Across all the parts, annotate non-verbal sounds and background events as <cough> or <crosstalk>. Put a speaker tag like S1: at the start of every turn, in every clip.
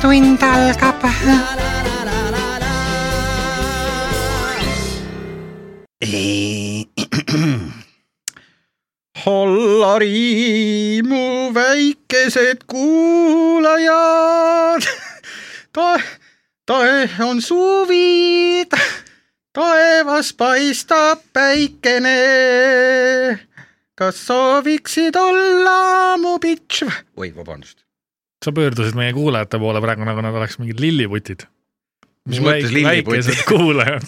S1: tund algab .
S2: <clears throat> olla riimu , väikesed kuulajad . <laughs> ta , tae on suvi , taevas paistab päikene . kas sooviksid olla mu bitš ? oi , vabandust .
S3: sa pöördusid meie kuulajate poole praegu , nagu nad oleks mingid lilliputid .
S2: Mis mõttes lilliputid?
S3: väikesed
S2: <laughs>
S3: kuulajad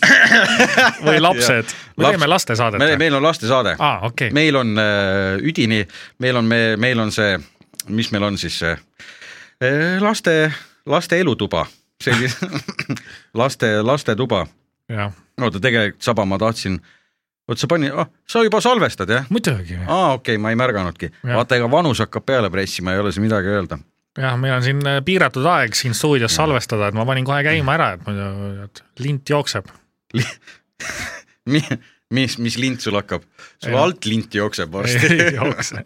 S3: või lapsed . me
S2: Laps-
S3: teeme lastesaadet
S2: me ,
S3: või ?
S2: meil on lastesaade ,
S3: aa , okei ,
S2: meil on äh, üdini , meil on , me , meil on see , mis meil on siis see äh, laste , laste elutuba , sellise <laughs> laste , lastetuba
S3: jah ,
S2: oota , tegelikult saba ma tahtsin , vot sa pani ah, , sa juba salvestad jah ?
S3: muidugi .
S2: aa , okei okay, , ma ei märganudki ,
S3: Jah.
S2: vaata ega vanus hakkab peale pressima , ei ole siin midagi öelda .
S3: jah , meil on siin äh, piiratud aeg siin stuudios salvestada , et ma panin kohe käima ära , et muidu et lint
S2: <laughs>
S3: jookseb .
S2: mis , mis lint sul hakkab ? sul
S3: Ei.
S2: alt lint jookseb varsti .
S3: ei jookse .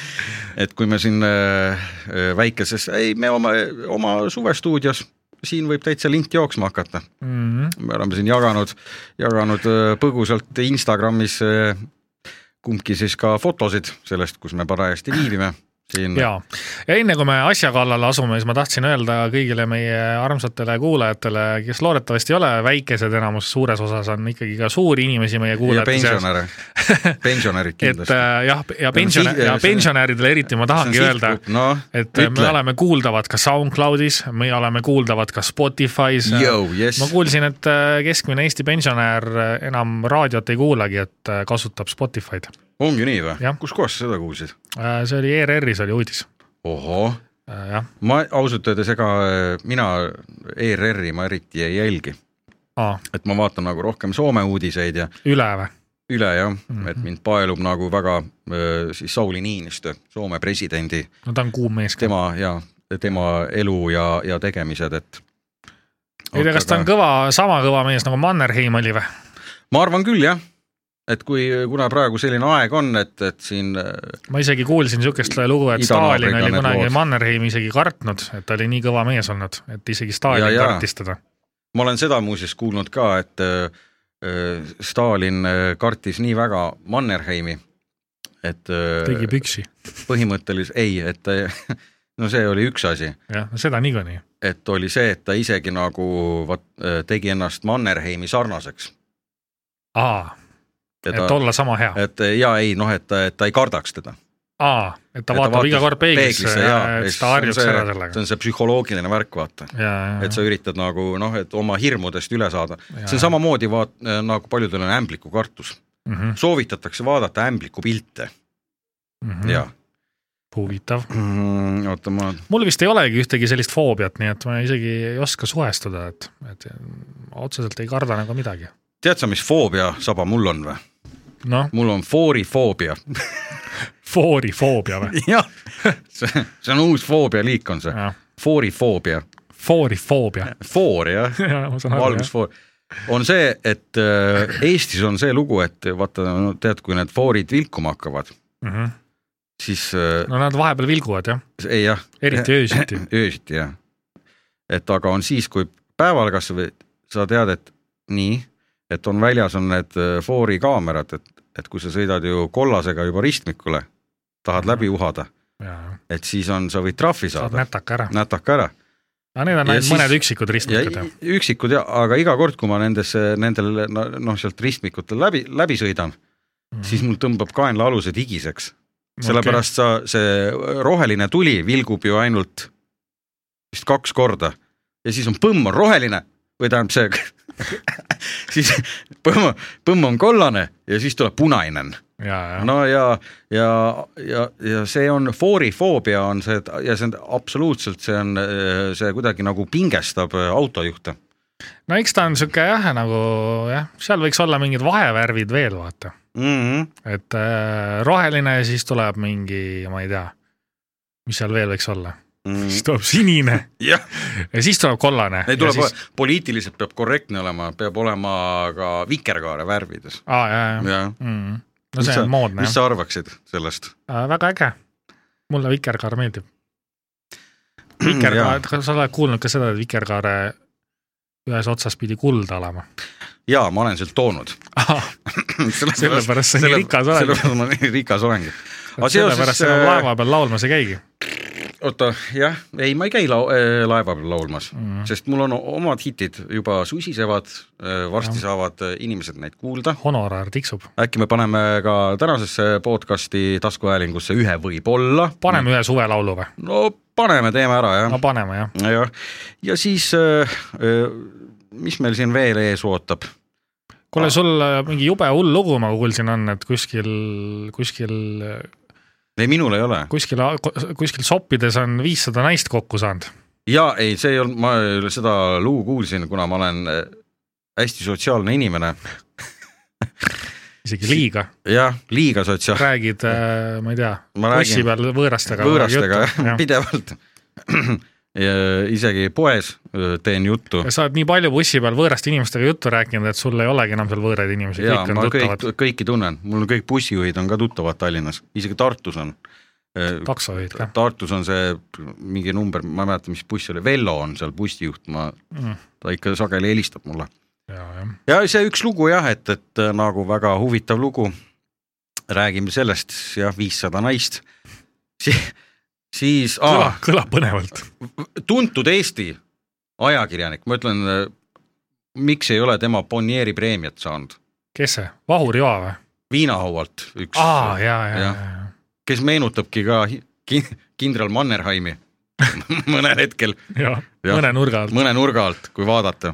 S2: <laughs> et kui me siin äh, äh, väikeses , ei me oma , oma suvestuudios , siin võib täitsa lint jooksma hakata .
S3: Mhm.
S2: me oleme siin jaganud , jaganud äh, põgusalt Instagramis äh, kumbki siis ka fotosid sellest , kus me parajasti viibime siin .
S3: ja , ja enne kui me asja kallale asume , siis ma tahtsin öelda kõigile meie armsatele kuulajatele , kes loodetavasti ei ole väikesed enamus , suures osas on ikkagi ka suuri inimesi meie
S2: ja
S3: kuulajate seas .
S2: pensionäre , pensionärid
S3: <laughs> et
S2: kindlasti .
S3: äh, jah , ja pensionär ,
S2: siht-
S3: ja
S2: see-
S3: pensionäridele eriti ma tahangi öelda ,
S2: noh ,
S3: et äh, me
S2: ütle ,
S3: oleme kuuldavad ka SoundCloudis , me oleme kuuldavad ka Spotify's .
S2: jõu , jess
S3: äh, ma , kuulsin , et äh, keskmine Eesti pensionär äh, enam raadiot ei kuulagi , et äh, kasutab Spotify'd .
S2: ongi nii või
S3: Jah. ?
S2: kuskohast sa seda kuulsid ?
S3: see oli ERR-is oli uudis ,
S2: ohoh ,
S3: jah .
S2: ma ausalt öeldes , ega äh, mina ERR-i ma eriti ei jälgi , et ma vaatan nagu rohkem Soome uudiseid ja
S3: üle või ?
S2: üle jah ,
S3: Mhm.
S2: et mind paelub nagu väga äh, siis Sauli Niinistö , Soome presidendi ,
S3: no ta on kuum mees ka .
S2: tema ja tema elu ja , ja tegemised , et .
S3: ei tea , kas ta on kõva , sama kõva mees nagu Mannerheim oli või ?
S2: ma arvan küll jah , et kui , kuna praegu selline aeg on , et , et siin äh,
S3: ma isegi kuulsin niisugust lugu , et
S2: Idanaabriga
S3: Stalin oli
S2: need
S3: kunagi
S2: lood.
S3: Mannerheimi isegi kartnud , et ta oli nii kõva mees olnud , et isegi Stalin
S2: Ja,
S3: ja,
S2: ja.
S3: kartis teda .
S2: ma olen seda muuseas kuulnud ka , et äh, äh, Stalin äh, kartis nii väga Mannerheimi , et äh,
S3: tegi püksi ,
S2: põhimõtteliselt ei , et <laughs> ta- no see oli üks asi ,
S3: jah , seda niikuinii .
S2: et oli see , et ta isegi nagu vat- äh, tegi ennast Mannerheimi sarnaseks .
S3: aa , et olla sama hea .
S2: et ja ei noh , et , et ta ei kardaks teda .
S3: aa , et ta vaatab iga kord peeglisse ja siis ta harjub ära
S2: see
S3: sellega .
S2: on see psühholoogiline värk , vaata ,
S3: ja ,
S2: et sa üritad nagu noh , et oma hirmudest üle saada .
S3: Jaa.
S2: see on samamoodi vaat- , nagu paljudel on ämblikukartus ,
S3: ja .
S2: soovitatakse vaadata ämblikupilte
S3: Mm.
S2: jaa .
S3: mhm. huvitav ,
S2: oota , ma ,
S3: mul vist ei olegi ühtegi sellist foobiat , nii et ma isegi ei oska suhestuda , et , et otseselt ei karda nagu midagi .
S2: tead sa , mis foobia saba mul on või ?
S3: noh ,
S2: mul on
S3: <laughs>
S2: foorifoobia .
S3: foorifoobia või ?
S2: <laughs> jah , see , see on uus foobia-liik on see ,
S3: jah ,
S2: foorifoobia ,
S3: foorifoobia . <laughs>
S2: foor jah ,
S3: jaa , ma saan aru , jah .
S2: valgusfoor , on see , et äh, Eestis on see lugu , et vaata , no tead , kui need foorid vilkuma hakkavad , siis äh,
S3: Mhm. no nad vahepeal vilguvad jah ,
S2: ei jah ,
S3: eriti öösiti .
S2: <clears throat> öösiti jah , et aga on siis , kui päeval kasvõi sa tead , et nii , et on väljas on need äh, foorikaamerad , et , et kui sa sõidad ju kollasega juba ristmikule , tahad läbi
S3: Mhm.
S2: uhada ,
S3: saad
S2: et siis on , sa võid trahvi saada ,
S3: nätaka ära ,
S2: nätaka ära
S3: aga need on
S2: Ja
S3: ainult
S2: siis-
S3: mõned üksikud
S2: ja
S3: ristmikud jah .
S2: üksikud ja , aga iga kord , kui ma nendesse , nendel no- noh , sealt ristmikutel läbi , läbi sõidan ,
S3: Mhm.
S2: siis mul tõmbab kaenlaalused higiseks , sellepärast sa , see roheline tuli vilgub ju ainult vist kaks korda ja siis on põmm on roheline või tähendab see <laughs> siis põmm , põmm on kollane ja siis tuleb punaine .
S3: ja , ja
S2: no ja , ja , ja , ja see on foorifoobia on see et- ja see on absoluutselt , see on , see kuidagi nagu pingestab autojuhte .
S3: no eks ta on sihuke jah , nagu jah , seal võiks olla mingid vahevärvid veel vaata , Mhm,
S2: Mm -hmm.
S3: et äh, roheline , siis tuleb mingi , ma ei tea , mis seal veel võiks olla , siis tuleb sinine
S2: <laughs> jah ,
S3: mhm. ja siis tuleb kollane .
S2: ei tuleb
S3: siis... ,
S2: poliitiliselt peab korrektne olema , peab olema ka vikerkaare värvides .
S3: aa ja , ja , ja .
S2: jah
S3: Mm. no
S2: Mis
S3: see
S2: sa-
S3: on moodne
S2: mis
S3: jah , Äh,
S2: sa arvaksid sellest ?
S3: väga äge . mulle vikerkaar meeldib ,
S2: <clears throat> Jaa. ,
S3: vikerkaare kas sa oled kuulnud ka seda , et vikerkaare ühes otsas pidi kuld <laughs> olema ?
S2: jaa , ma olen sealt toonud . <laughs>
S3: Sellepärast sa nii rikas oledki.
S2: sellepärast ma nii rikas olengi . Aga seoses,
S3: sellepärast sa enam
S2: äh,
S3: laeva peal laulmas ei käigi
S2: oota , jah , ei , ma ei käi lau- , laeva peal laulmas mm ,
S3: mm.
S2: -hmm. . sest mul on omad hitid juba susisevad , varsti
S3: Jah.
S2: ja. saavad äh, inimesed neid kuulda .
S3: honorar tiksub ,
S2: äkki me paneme ka tänasesse podcast'i taskuhäälingusse ühe võib-olla .
S3: paneme mm. ühe suvelaulu või ?
S2: no paneme , teeme ära jah
S3: no . paneme jah ,
S2: jah , ja siis äh, äh, mis meil siin veel ees ootab ?
S3: kuule , sul äh, mingi jube hull lugu , ma kuulsin , on , et kuskil , kuskil ,
S2: ei , minul ei ole .
S3: kuskil , kuskil soppides on viissada naist kokku saanud .
S2: jaa , ei , see ei olnud , ma seda lugu kuulsin , kuna ma olen äh, hästi sotsiaalne inimene ,
S3: isegi liiga ,
S2: jah , liiga sotsiaalne ,
S3: räägid , ma ei tea ,
S2: ma
S3: bussi
S2: räägin
S3: peal võõrastega .
S2: võõrastega jah, . pidevalt . <clears throat> isegi poes öö, teen juttu
S3: ja . sa oled nii palju bussi peal võõraste inimestega juttu rääkinud , et sul ei olegi enam seal võõraid inimesi ,
S2: jaa ,
S3: kõik on
S2: ma kõik
S3: tuttavad .,
S2: kõiki tunnen , mul on kõik bussijuhid on ka tuttavad Tallinnas , isegi Tartus on . Äh,
S3: taksojuhid ka
S2: Tartus on see mingi number , ma ei mäleta , mis buss see oli , Vello on seal bussijuht , ma ,
S3: mm. .
S2: ta ikka sageli helistab mulle .
S3: ja , jah ,
S2: ja see üks lugu jah , et , et nagu väga huvitav lugu , räägime sellest , jah , viissada naist si, , siis
S3: kõlab
S2: aa, ,
S3: kõlab põnevalt .
S2: tuntud Eesti ajakirjanik , ma ütlen , miks ei ole tema Bonnieri preemiat saanud ,
S3: kes see , Vahur Joa või ?
S2: viinahaualt üks
S3: aa , ja , ja , ja
S2: Jah. , kes meenutabki ka hi- ki- kindral Mannerheimi <laughs> mõnel hetkel ,
S3: ja , ja ,
S2: Jah.
S3: mõne nurga alt .
S2: mõne nurga alt , kui vaadata ,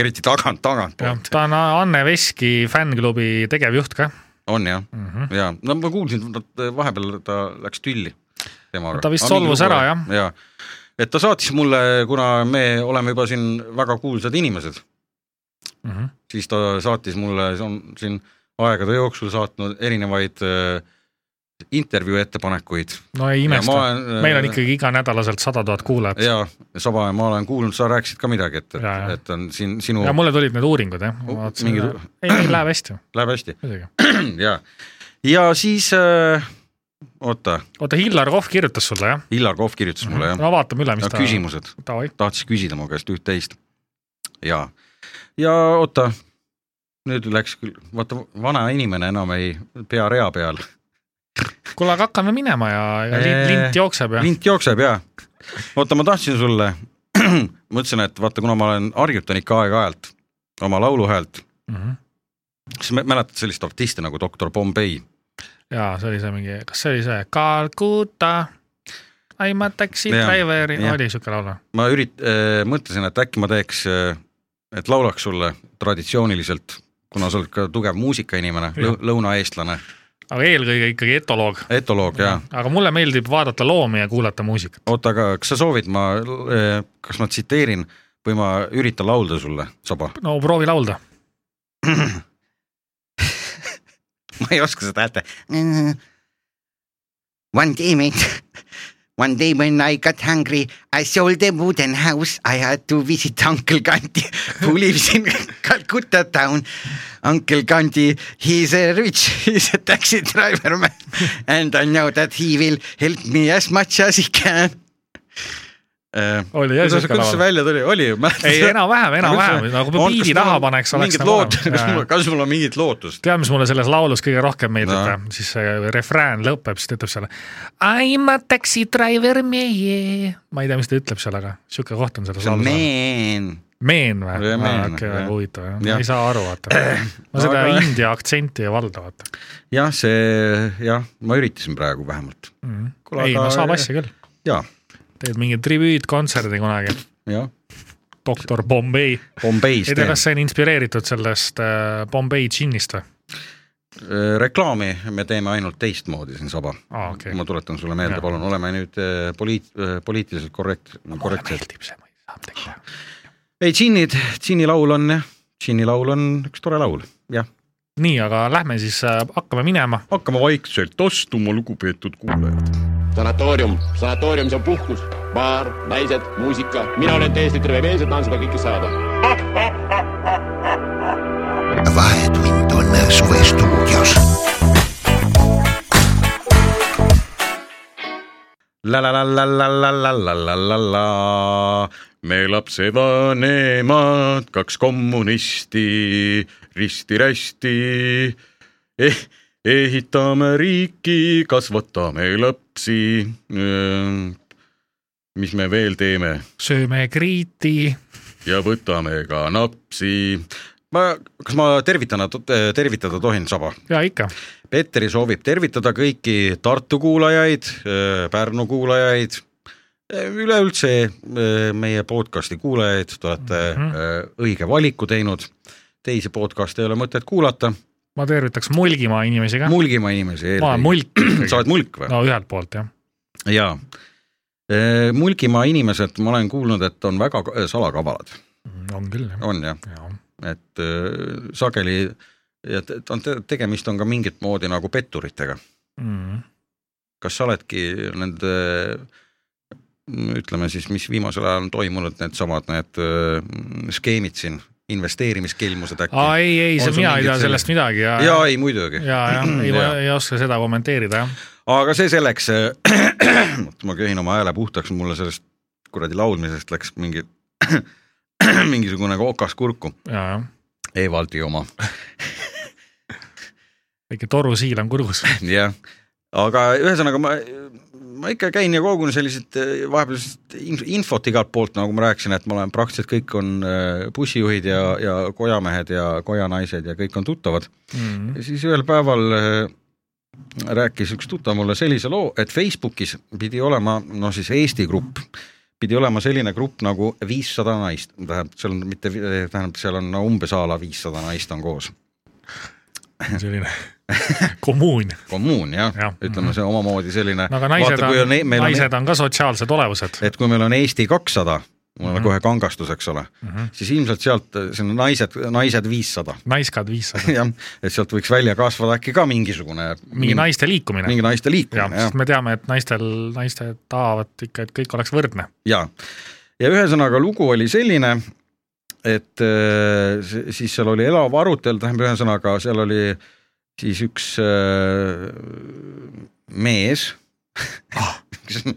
S2: eriti tagant ,
S3: jah ,
S2: tagantpoolt
S3: ta on Anne Veski fännklubi tegevjuht ka
S2: on jah ,
S3: mm . -hmm.
S2: ja no ma kuulsin , vahepeal ta läks tülli temaga .
S3: Ta vist solvus ära, jah.
S2: ja , et ta saatis mulle , kuna me oleme juba siin väga kuulsad inimesed ,
S3: Mm -hmm.
S2: siis ta saatis mulle , see on siin aegade jooksul saatnud erinevaid äh, intervjuu ettepanekuid .
S3: no ei imesta ,
S2: olen,
S3: meil on . ikkagi iganädalaselt sada tuhat kuulajat ja,
S2: ja , Saba , ma olen kuulnud , sa rääkisid ka midagi , et ,
S3: Jaa, jah.
S2: et , et on siin sinu
S3: ja , mulle tulid need uuringud jah , ma
S2: Oh,
S3: vaatasin
S2: mingid-
S3: mingid... , ei , ei läheb hästi ,
S2: läheb hästi
S3: muidugi .
S2: ja , Mm, ja siis äh, oota ,
S3: oota , Hillar Kohv kirjutas sulle jah ?
S2: Illar Kohv kirjutas mulle jah ,
S3: Mhm. no vaatame üle , mis
S2: ja
S3: ta .
S2: küsimused .
S3: Davai ,
S2: tahtis küsida mu käest üht-teist . ja , ja oota , nüüd läks küll , vaata vana inimene enam ei pea rea peal ,
S3: kuule , aga hakkame minema ja, ja lint,
S2: Eee,
S3: lint jookseb ja .
S2: lint jookseb ja . oota , ma tahtsin sulle , <clears throat> mõtlesin , et vaata , kuna ma olen harjutan ikka aeg-ajalt oma lauluhäält ,
S3: Mm -hmm.
S2: kas mä- mäletad sellist artisti nagu doktor Bombay ?
S3: jaa , see oli see mingi , kas see oli see Calcutta , I m a taxi
S2: Jaa,
S3: driver ,
S2: jah.
S3: oli siuke laul või ?
S2: ma ürit- , mõtlesin , et äkki ma teeks , et laulaks sulle traditsiooniliselt , kuna sa oled ka tugev muusikainimene ,
S3: Jah.
S2: lõunaeestlane ,
S3: aga eelkõige ikkagi etoloog .
S2: etoloog ja
S3: aga mulle meeldib vaadata loomi ja kuulata muusikat .
S2: oota , aga kas sa soovid , ma , kas ma tsiteerin või ma üritan laulda sulle , Saba ?
S3: no proovi laulda .
S1: <laughs>
S2: ma ei oska seda häält .
S1: Mm-hmm. One day, mate. <laughs> One day when I got hungry, I sold the wooden house. I had to visit Uncle Gandhi, <laughs> who lives in Calcutta town. Uncle Gandhi, he's a rich, <laughs> he's a taxi driver man, and I know that he will help me as much as he can .
S3: oli jah
S2: Äh, kuidas
S3: siuke
S2: kuidas see
S3: laul .
S2: välja tuli , oli ju , mäletad ?
S3: ei ,
S2: <laughs>
S3: enam-vähem , enam-vähem , nagu kui piidi taha paneks , oleks nagu-
S2: mingid lood , <laughs> kas
S3: enam-vähem.
S2: mul , kas mul on mingit lootust ?
S3: tead , mis mulle selles laulus kõige rohkem meeldib
S2: No.
S3: no. , siis see refrään lõpeb , siis ta ütleb seal I m a taxi driver meie . ma ei tea , mis ta ütleb seal , aga sihuke koht on selles
S2: see on
S3: laulus .
S2: man .
S3: Meen või ?
S2: Jah, meen,
S3: okei ,
S2: jah.
S3: väga huvitav jah , ma
S2: Jah.
S3: ei saa aru , vaata . ma seda
S2: Aga-
S3: India aktsenti ei valda , vaata
S2: jah , see , jah , ma üritasin praegu vähemalt .
S3: mm. .
S2: Kuule,
S3: ei ,
S2: aga-
S3: no saab asja küll .
S2: jaa ,
S3: teed mingi tribüütkontserdi kunagi ,
S2: jah ,
S3: doktor Bombay .
S2: Bombay's
S3: ei tea ,
S2: teen
S3: kas see on inspireeritud sellest äh, Bombay džinnist või ?
S2: Äh, reklaami me teeme ainult teistmoodi siin saba .
S3: aa , okei .
S2: ma tuletan sulle meelde ,
S3: Jah.
S2: palun , oleme nüüd äh, poliit- , poliitiliselt korrekt- ,
S3: mulle
S2: korrektsed .
S3: meeldib see , ma ei saa midagi teha .
S2: ei , džinnid , džinni laul on jah , džinni laul on üks tore laul , jah .
S3: nii , aga lähme siis äh, hakkame minema .
S2: hakkame vaikselt astuma , lugupeetud kuulajad .
S4: sanatoorium , sanatoorium , see on puhkus , baar , naised , muusika , mina olen täiesti terve mees ja tahan seda kõike saada
S5: Vahetund on suvestuudios .
S2: la-la-la-la-la-la-la-la-la-la-la , me lapsed vanemad , kaks kommunisti , risti-rästi eh, , ehitame riiki , kasvatame lapsi . mis me veel teeme ?
S3: sööme kriiti ,
S2: ja võtame ka napsi . ma , kas ma tervitana , tervitada tohin , Saba ?
S3: ja ikka ,
S2: Petteri soovib tervitada kõiki Tartu kuulajaid , Pärnu kuulajaid , üleüldse öö, meie podcasti kuulajaid , te olete
S3: Mhm.
S2: öö, õige valiku teinud , teisi podcast'e ei ole mõtet kuulata ,
S3: ma tervitaks Mulgimaa inimesi ka .
S2: mulgima inimesi
S3: ma olen
S2: eelkõige .
S3: mulk ,
S2: sa oled mulk või ?
S3: no ühelt poolt jah ,
S2: jaa . Mulgimaa inimesed , ma olen kuulnud , et on väga ka- äh, salakavalad ,
S3: Mm, on küll jah
S2: on jah ,
S3: ja. .
S2: et öö, sageli , et et on , tegemist on ka mingit moodi nagu petturitega .
S3: Mm.
S2: kas sa oledki nende mm, ütleme siis , mis viimasel ajal on toimunud , needsamad need mm, skeemid siin , investeerimiskelmused äkki
S3: aa ? ei , ei , see
S2: sul
S3: mina ei
S2: mingid
S3: tea sellest midagi ja , ja ,
S2: jaa , ei muidugi ,
S3: ja
S2: <clears throat>
S3: ei , ma
S2: Jaa.
S3: ei oska seda kommenteerida jah .
S2: aga see selleks , <clears throat> oot ma köhin oma hääle puhtaks , mulle sellest kuradi laulmisest läks mingi <clears throat> mingisugune nagu okas kurku ,
S3: ja , jah ,
S2: Evaldi oma ,
S3: väike torusiil on
S2: <laughs>
S3: kurgus .
S2: jah . aga ühesõnaga ma , ma ikka käin ja kogun sellised eh, vahepeal sellist in- infot igalt poolt , nagu ma rääkisin , et ma olen praktiliselt kõik on eh, bussijuhid ja , ja kojamehed ja kojanaised ja kõik on tuttavad .
S3: Mm.
S2: ja siis ühel päeval eh, rääkis üks tuttav mulle sellise loo , et Facebookis pidi olema , no siis Eesti grupp , pidi olema selline grupp nagu viissada naist , tähendab , seal on mitte , tähendab , seal on no umbes a la viissada naist on koos ,
S3: selline kommuun ,
S2: kommuun jah ja.
S3: Jah. ,
S2: ütleme see omamoodi selline
S3: no aga naised
S2: Vaata, kui
S3: on,
S2: on e-
S3: on ,
S2: meil on e-
S3: naised on ka sotsiaalsed olevused .
S2: et kui meil on Eesti kakssada , mul on
S3: Mhm.
S2: kohe kangastus , eks ole ,
S3: Mhm.
S2: siis ilmselt sealt , see on naised , naised viissada , <laughs>
S3: naiskad viissada ,
S2: jah , et sealt võiks välja kasvada äkki ka mingisugune
S3: mingi naiste liikumine .
S2: mingi naiste
S3: jah ,
S2: liikumine , jah
S3: sest , me teame , et naistel , naised tahavad ikka , et kõik oleks võrdne .
S2: ja , ja ühesõnaga lugu oli selline , et äh, s- siis seal oli elav arutelu , tähendab , ühesõnaga seal oli siis üks äh, mees ,
S3: Ah.
S2: <laughs>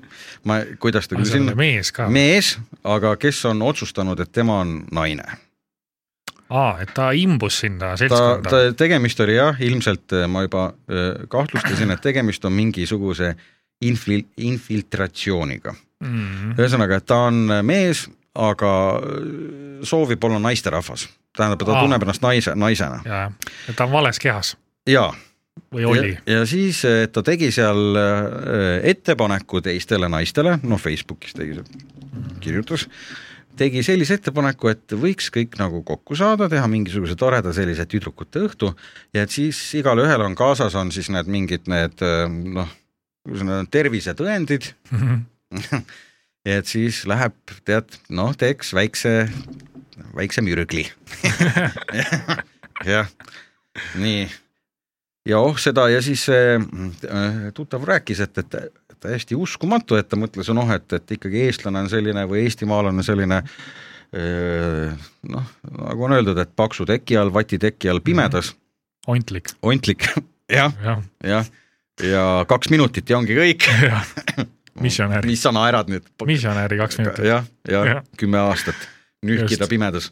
S2: ma , kuidas ta küll
S3: see on
S2: sinna ,
S3: mees ka ,
S2: mees , aga kes on otsustanud , et tema on naine
S3: aa , et ta imbus sinna
S2: ta , ta
S3: seltskonda .
S2: tegemist oli jah , ilmselt äh, ma juba öö, kahtlustasin , et tegemist on mingisuguse infil- , infiltratsiooniga .
S3: Mm-hmm.
S2: ühesõnaga , et ta on äh, mees , aga äh, öö, soovib olla naisterahvas . tähendab , ta
S3: Aa.
S2: tunneb ennast naise , naisena
S3: ja , et ta on vales kehas
S2: ja,
S3: või
S2: ja
S3: oli .,
S2: ja siis öö, ta tegi seal öö, ettepaneku teistele naistele , noh , Facebookis tegi , kirjutas , tegi sellise ettepaneku , et võiks kõik nagu kokku saada , teha mingisuguse toreda sellise tüdrukute õhtu ja et siis igalühel on kaasas , on siis need mingid need öö, noh , kuidas need on , tervisetõendid ,
S3: Mhm.
S2: et siis läheb , tead , noh , teeks väikse , väikse mürgli . jah , nii . ja oh seda ja siis see äh, tuttav rääkis , et , et täiesti uskumatu , et ta mõtles , noh , et , et ikkagi eestlane on selline või eestimaalane on selline öö, noh , nagu on öeldud , et paksu teki all , vati teki all pimedas ,
S3: ontlik ,
S2: ontlik , <laughs> jah ,
S3: jah ,
S2: jah , ja kaks minutit ja ongi kõik . <laughs>
S3: Missionär.
S2: mis sa naerad nüüd ?
S3: missionäri kaks minutit .
S2: jah , ja, ja
S3: Jah.
S2: kümme aastat nühkida
S3: Just.
S2: pimedas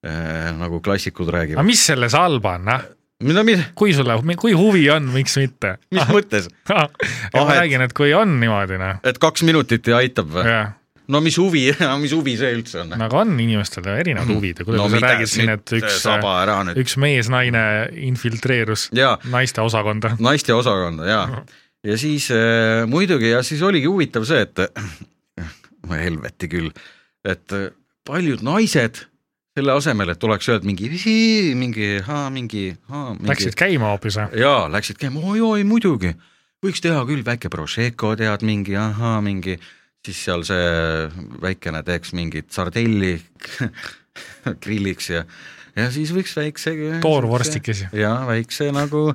S2: äh, , nagu klassikud
S3: aga
S2: räägivad .
S3: mis selles halba on , noh ,
S2: mida , mis ,
S3: kui sulle , kui huvi on , miks mitte ? <laughs>
S2: mis mõttes ,
S3: ja
S2: Ah,
S3: ma
S2: et-
S3: räägin , et kui on niimoodi , noh ,
S2: et kaks minutit ja aitab või ?
S3: jah
S2: no mis huvi , <laughs> mis huvi see üldse on ?
S3: no aga on inimestel ju
S2: Mm-hmm.
S3: erinevad huvid ja kuidas sa räägid siin , et üks ,
S2: saba ära nüüd .
S3: üks mees-naine infiltreerus
S2: jaa ,
S3: naiste osakonda .
S2: naiste osakonda jaa . ja siis äh, muidugi ja siis oligi huvitav see , et helveti küll , et äh, paljud naised selle asemel , et oleks öelnud mingi , mingi , mingi , mingi
S3: Läksid käima hoopis või ?
S2: jaa , läksid käima oi, , oi-oi muidugi , võiks teha küll väike Prosecco , tead mingi ahaa , mingi , siis seal see väikene teeks mingit sardelli <laughs> grilliks ja , ja siis võiks väikse .
S3: toorvorstikesi .
S2: jaa , väikse nagu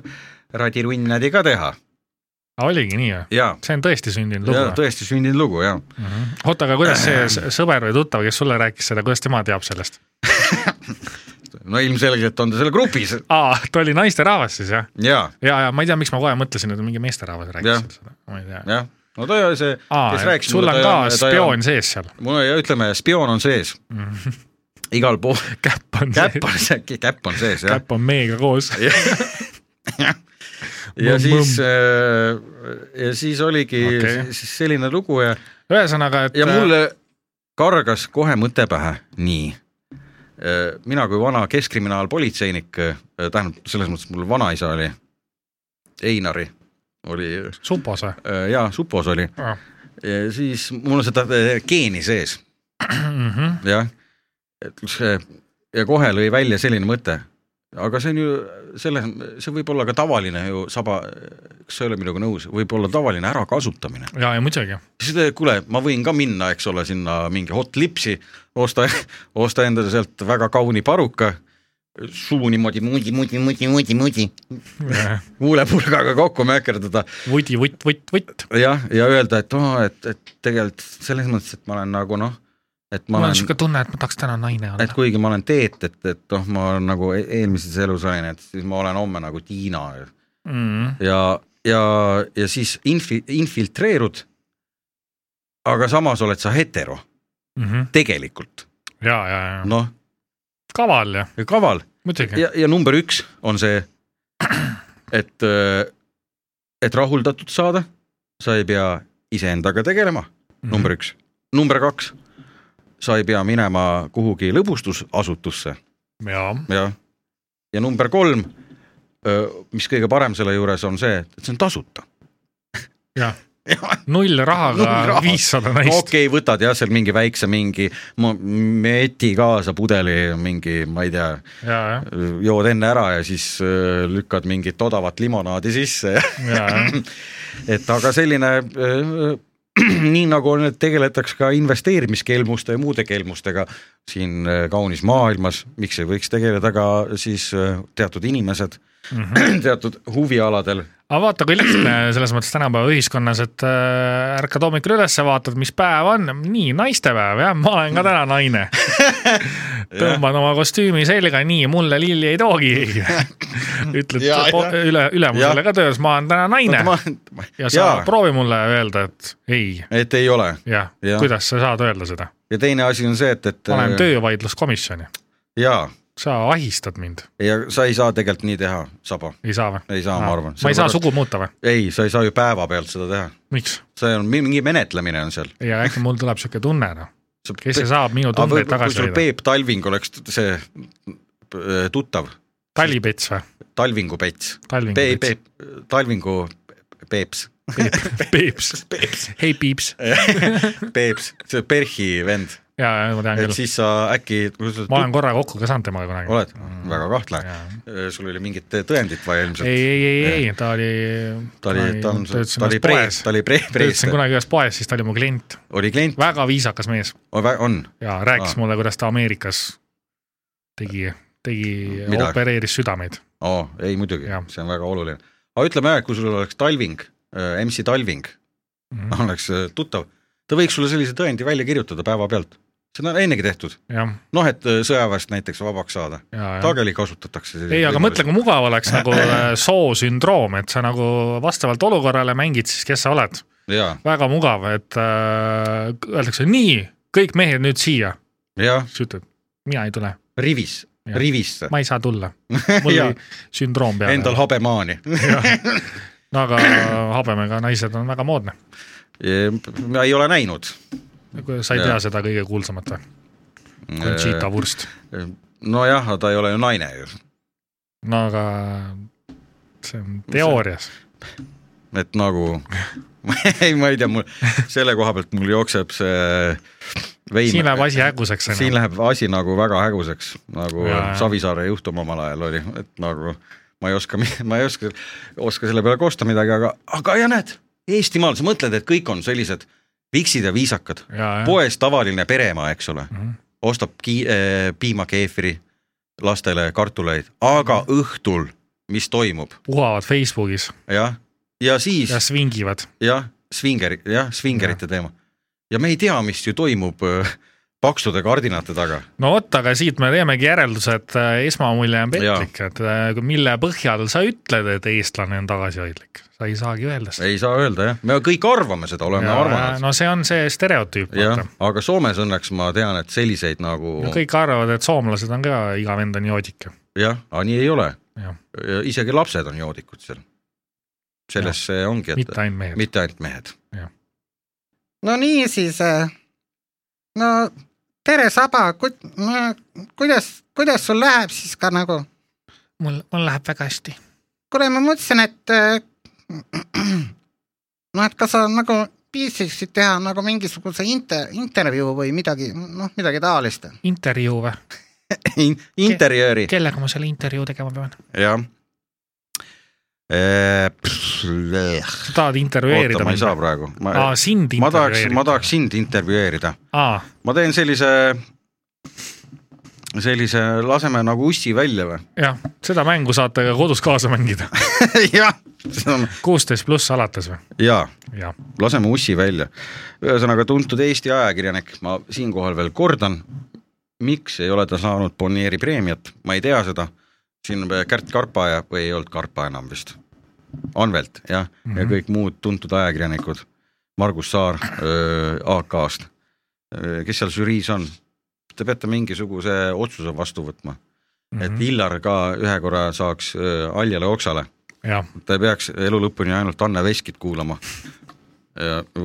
S2: radirunnadi ka teha
S3: oligi nii või ?
S2: ja ,
S3: see on tõesti sündinud
S2: ja
S3: lugu või ?
S2: tõesti sündinud lugu ja
S3: oota , aga kuidas see s- sõber või tuttav , kes sulle rääkis seda , kuidas tema teab sellest ?
S2: no ilmselgelt on ta seal grupis
S3: aa , ta oli naisterahvas siis jah ?
S2: ja ,
S3: ja , ja ma ei tea , miks ma kohe mõtlesin , et mingi meesterahvas
S2: Jah.
S3: rääkis seda , ma ei tea .
S2: jah , no ta ei ole see , kes
S3: aa ,
S2: rääkis
S3: sul on ka spioon . Mhm. sees seal .
S2: mul on , ütleme , spioon on sees igal
S3: <laughs>
S2: pool ,
S3: käpp on
S2: käpp
S3: sees ,
S2: on see , käpp on sees jah .
S3: käpp on meiega koos .
S2: ja
S3: Mõmm,
S2: siis , ja siis oligi
S3: Okei. Äh.
S2: okay. selline lugu ja ,
S3: ühesõnaga , et
S2: ja mulle kargas kohe mõte pähe , nii . mina kui vana keskkriminaalpolitseinik , tähendab selles mõttes mul vanaisa oli Einari , oli
S3: supos või ?
S2: äh, jaa , supos oli , siis mul on seda äh, geeni sees ,
S3: Mhm.
S2: jah . et see ja kohe lõi välja selline mõte , aga see on ju selles , see võib olla ka tavaline ju saba , kas sa ei ole minuga nõus , võib olla tavaline ärakasutamine .
S3: ja , ja muidugi .
S2: siis ta , kuule , ma võin ka minna , eks ole , sinna mingi hot lipsi , osta , osta endale sealt väga kauni paruka , suu niimoodi mudi , mudi , mudi , mudi , mudi , huulepulgaga kokku mökerdada
S3: Äh, vuti , vutt , vutt , vutt .
S2: jah , ja öelda , et oo , et , et tegelikult selles mõttes , et ma olen nagu noh , et ma
S3: mul on
S2: olen ,
S3: siuke tunne , et ma tahaks täna naine
S2: et
S3: olla .
S2: kuigi ma olen Teet , et , et noh , ma olen nagu e- eelmises elus olin , et siis ma olen homme nagu Tiina
S3: Mhm.
S2: ja , ja , ja siis infi- , infiltreerud . aga samas oled sa hetero
S3: Mhm.
S2: tegelikult ,
S3: ja , ja , ja ,
S2: noh ,
S3: kaval ju ,
S2: kaval
S3: muidugi .
S2: ja , ja number üks on see , et , et rahuldatud saada , sa ei pea iseendaga tegelema Mhm. number üks , number kaks , sa ei pea minema kuhugi lõbustusasutusse
S3: jaa ,
S2: ja , ja number kolm , mis kõige parem selle juures on see , et see on tasuta .
S3: jah ,
S2: okei
S3: null
S2: Null
S3: rahaga
S2: raha.
S3: viissada
S2: no, ,
S3: naist .
S2: okay, võtad jah , seal mingi väikse mingi mo- meti kaasa pudeli mingi , ma ei tea ,
S3: ja , ja ,
S2: jood enne ära ja siis öö, lükkad mingit odavat limonaadi sisse ja <laughs>
S3: ja , ja ,
S2: et aga selline äh, <clears throat> nii nagu on , et tegeletakse ka investeerimiskelmuste ja muude kelmustega siin äh, kaunis maailmas , miks ei võiks tegeleda ka siis äh, teatud inimesed mm
S3: Mhm.
S2: -hmm. <clears throat> teatud huvialadel .
S3: aga vaata , kui lihtne
S2: <clears throat>
S3: selles mõttes tänapäeva ühiskonnas , et äh, ärkad hommikul üles , vaatad , mis päev on , nii naistepäev jah , ma olen ka täna naine .
S2: <laughs>
S3: tõmban oma kostüümi selga , nii mulle lilli ei toogi .
S2: <laughs>
S3: ütled
S2: Ja, ja.
S3: po- üle , ülemusele ka töös , ma olen täna naine
S2: Ma,
S3: ja sa
S2: jaa ,
S3: proovi mulle öelda , et ei ,
S2: et ei ole Jah.
S3: jah ja. , kuidas sa saad öelda seda ,
S2: ja teine asi on see , et , et äh,
S3: ma lähen . töövaidluskomisjoni ,
S2: jaa ,
S3: sa ahistad mind ,
S2: ja sa ei saa tegelikult nii teha , Saba ,
S3: ei saa või ?
S2: ei saa , ma arvan .
S3: ma ei saa . sugu muuta või ,
S2: ei , sa ei saa ju päevapealt seda teha ,
S3: miks ?
S2: see on mingi menetlemine on seal .
S3: ja äkki mul tuleb siuke tunne noh , kes see saab minu
S2: aga
S3: tundeid
S2: Ah, võib-olla kui
S3: tagasi
S2: sul
S3: leida ,
S2: Peep Talving oleks t- see äh, tuttav ,
S3: talipets või ?
S2: Talvingu Pets ,
S3: Talvingu
S2: Peep ,
S3: pets.
S2: Peep , Talvingu Peeps , <laughs>
S3: Peep , Peeps , hei Piips .
S2: Eh. Peeps , see Perhi vend ,
S3: ja , ja ma tean
S2: et
S3: küll ,
S2: siis sa äkki , kui sa
S3: ma olen
S2: tut-
S3: korra kokku ka saanud temaga kunagi .
S2: oled , väga kahtlane , sul oli mingit tõendit vaja ilmselt .
S3: ei , ei , ei , ei , ta oli .
S2: ta oli , ta on , ta oli prees , ta oli pre- , prees
S3: töötasin , kunagi ühes poes , siis ta oli mu klient ,
S2: oli klient ,
S3: väga viisakas mees
S2: on ,
S3: ja rääkis
S2: Aa.
S3: mulle , kuidas ta Ameerikas tegi , tegi ,
S2: Mida?
S3: opereeris südameid .
S2: oo , ei muidugi
S3: Jah. ,
S2: see on väga oluline . aga ütleme jah , et kui sul oleks Talving , MC Talving
S3: Mhm.
S2: <laughs> oleks äh, tuttav , ta võiks sulle sellise tõendi välja kirjutada päevapealt , seda on ennegi tehtud
S3: jah ,
S2: noh , et sõjaväest näiteks vabaks saada ,
S3: ja , ja
S2: sageli kasutatakse .
S3: ei , aga mõtle , kui mugav oleks
S2: <laughs>
S3: nagu äh, soosündroom , et sa nagu vastavalt olukorrale mängid siis , kes sa oled .
S2: ja ,
S3: väga mugav , et äh, öeldakse nii , kõik mehed nüüd siia ,
S2: ja
S3: siis ütled , mina ei tule ,
S2: rivis ,
S3: Jah.
S2: rivisse ,
S3: ma ei saa tulla . mul
S2: <laughs> Jaa.
S3: oli sündroom peal .
S2: endal habemaani . <laughs>
S3: no aga <clears throat> habemega naised on väga moodne .
S2: ma ei ole näinud .
S3: sa ei tea
S2: Jaa.
S3: seda kõige kuulsamat või ? Conchita Wurst .
S2: Äh, nojah , aga ta ei ole ju naine ju ,
S3: no aga see on teoorias .
S2: et nagu <laughs> ei , ma ei tea , mul selle koha pealt mul jookseb see vein .
S3: siin läheb asi häguseks
S2: siin
S3: onju .
S2: läheb asi nagu väga häguseks , nagu
S3: Jaa, jaa.
S2: Savisaare juhtum omal ajal oli , et nagu ma ei oska , ma ei oska , oska selle peale kosta midagi , aga , aga ja näed , Eestimaal sa mõtled , et kõik on sellised viksid ja viisakad , poes tavaline pereema , eks ole ,
S3: Mhm.
S2: ostab ki- , piimakeefri lastele kartuleid , aga
S3: Mhm.
S2: õhtul , mis toimub ,
S3: puhavad Facebookis
S2: jah , ja siis
S3: ja svingivad .
S2: jah , svingeri , jah , svingerite teema . ja me ei tea , mis ju toimub äh, paksude kardinate taga .
S3: no vot , aga siit me teemegi järelduse , et äh, esmamulje on petlik , et äh, mille põhjal sa ütled , et eestlane on tagasihoidlik , sa ei saagi öelda seda .
S2: ei saa öelda jah , me kõik arvame seda , oleme arvanud .
S3: no see on see stereotüüp ,
S2: jah
S3: vaata .,
S2: aga Soomes õnneks ma tean , et selliseid nagu
S3: no kõik arvavad , et soomlased on ka iga vend on joodik .
S2: jah , aga nii ei ole .
S3: Jah.
S2: isegi lapsed on joodikud seal . selles see ongi , et
S3: mitte ainult mehed .
S2: mitte ainult mehed .
S1: no nii siis , no tere , Saba , kuidas , kuidas sul läheb siis ka nagu ?
S3: mul , mul läheb väga hästi .
S1: kuule , ma mõtlesin , et äh, <clears throat> noh , et kas sa nagu viitsiksid teha nagu mingisuguse inter- , intervjuu või midagi , noh , midagi taolist .
S3: intervjuu või ?
S2: interjööri ,
S3: kellega ma selle intervjuu tegema pean ?
S2: jah .
S3: sa tahad intervjueerida
S2: oota , ma ei saa ? praegu .
S3: aa , sind
S2: ma tahaks ,
S3: intervjueerida .
S2: ma tahaks . sind intervjueerida .
S3: aa ,
S2: ma teen sellise , sellise , laseme nagu ussi välja või ? <laughs>
S3: jah , seda mängu saate ka kodus kaasa mängida .
S2: jah ,
S3: kuusteist pluss alates või ?
S2: jaa ,
S3: jah .
S2: laseme ussi välja . ühesõnaga tuntud Eesti ajakirjanik , ma siinkohal veel kordan , miks ei ole ta saanud Bonnieri preemiat , ma ei tea seda , siin Kärt Karpaaja või ei olnud Karpa enam vist , Anvelt jah mm , -hmm. ja kõik muud tuntud ajakirjanikud , Margus Saar öö, AK-st , kes seal žüriis on ? Te peate mingisuguse otsuse vastu võtma mm , -hmm. et Illar ka ühe korra saaks öö, haljale oksale
S3: jah ,
S2: ta ei peaks elu lõpuni ainult Anne Veskit kuulama .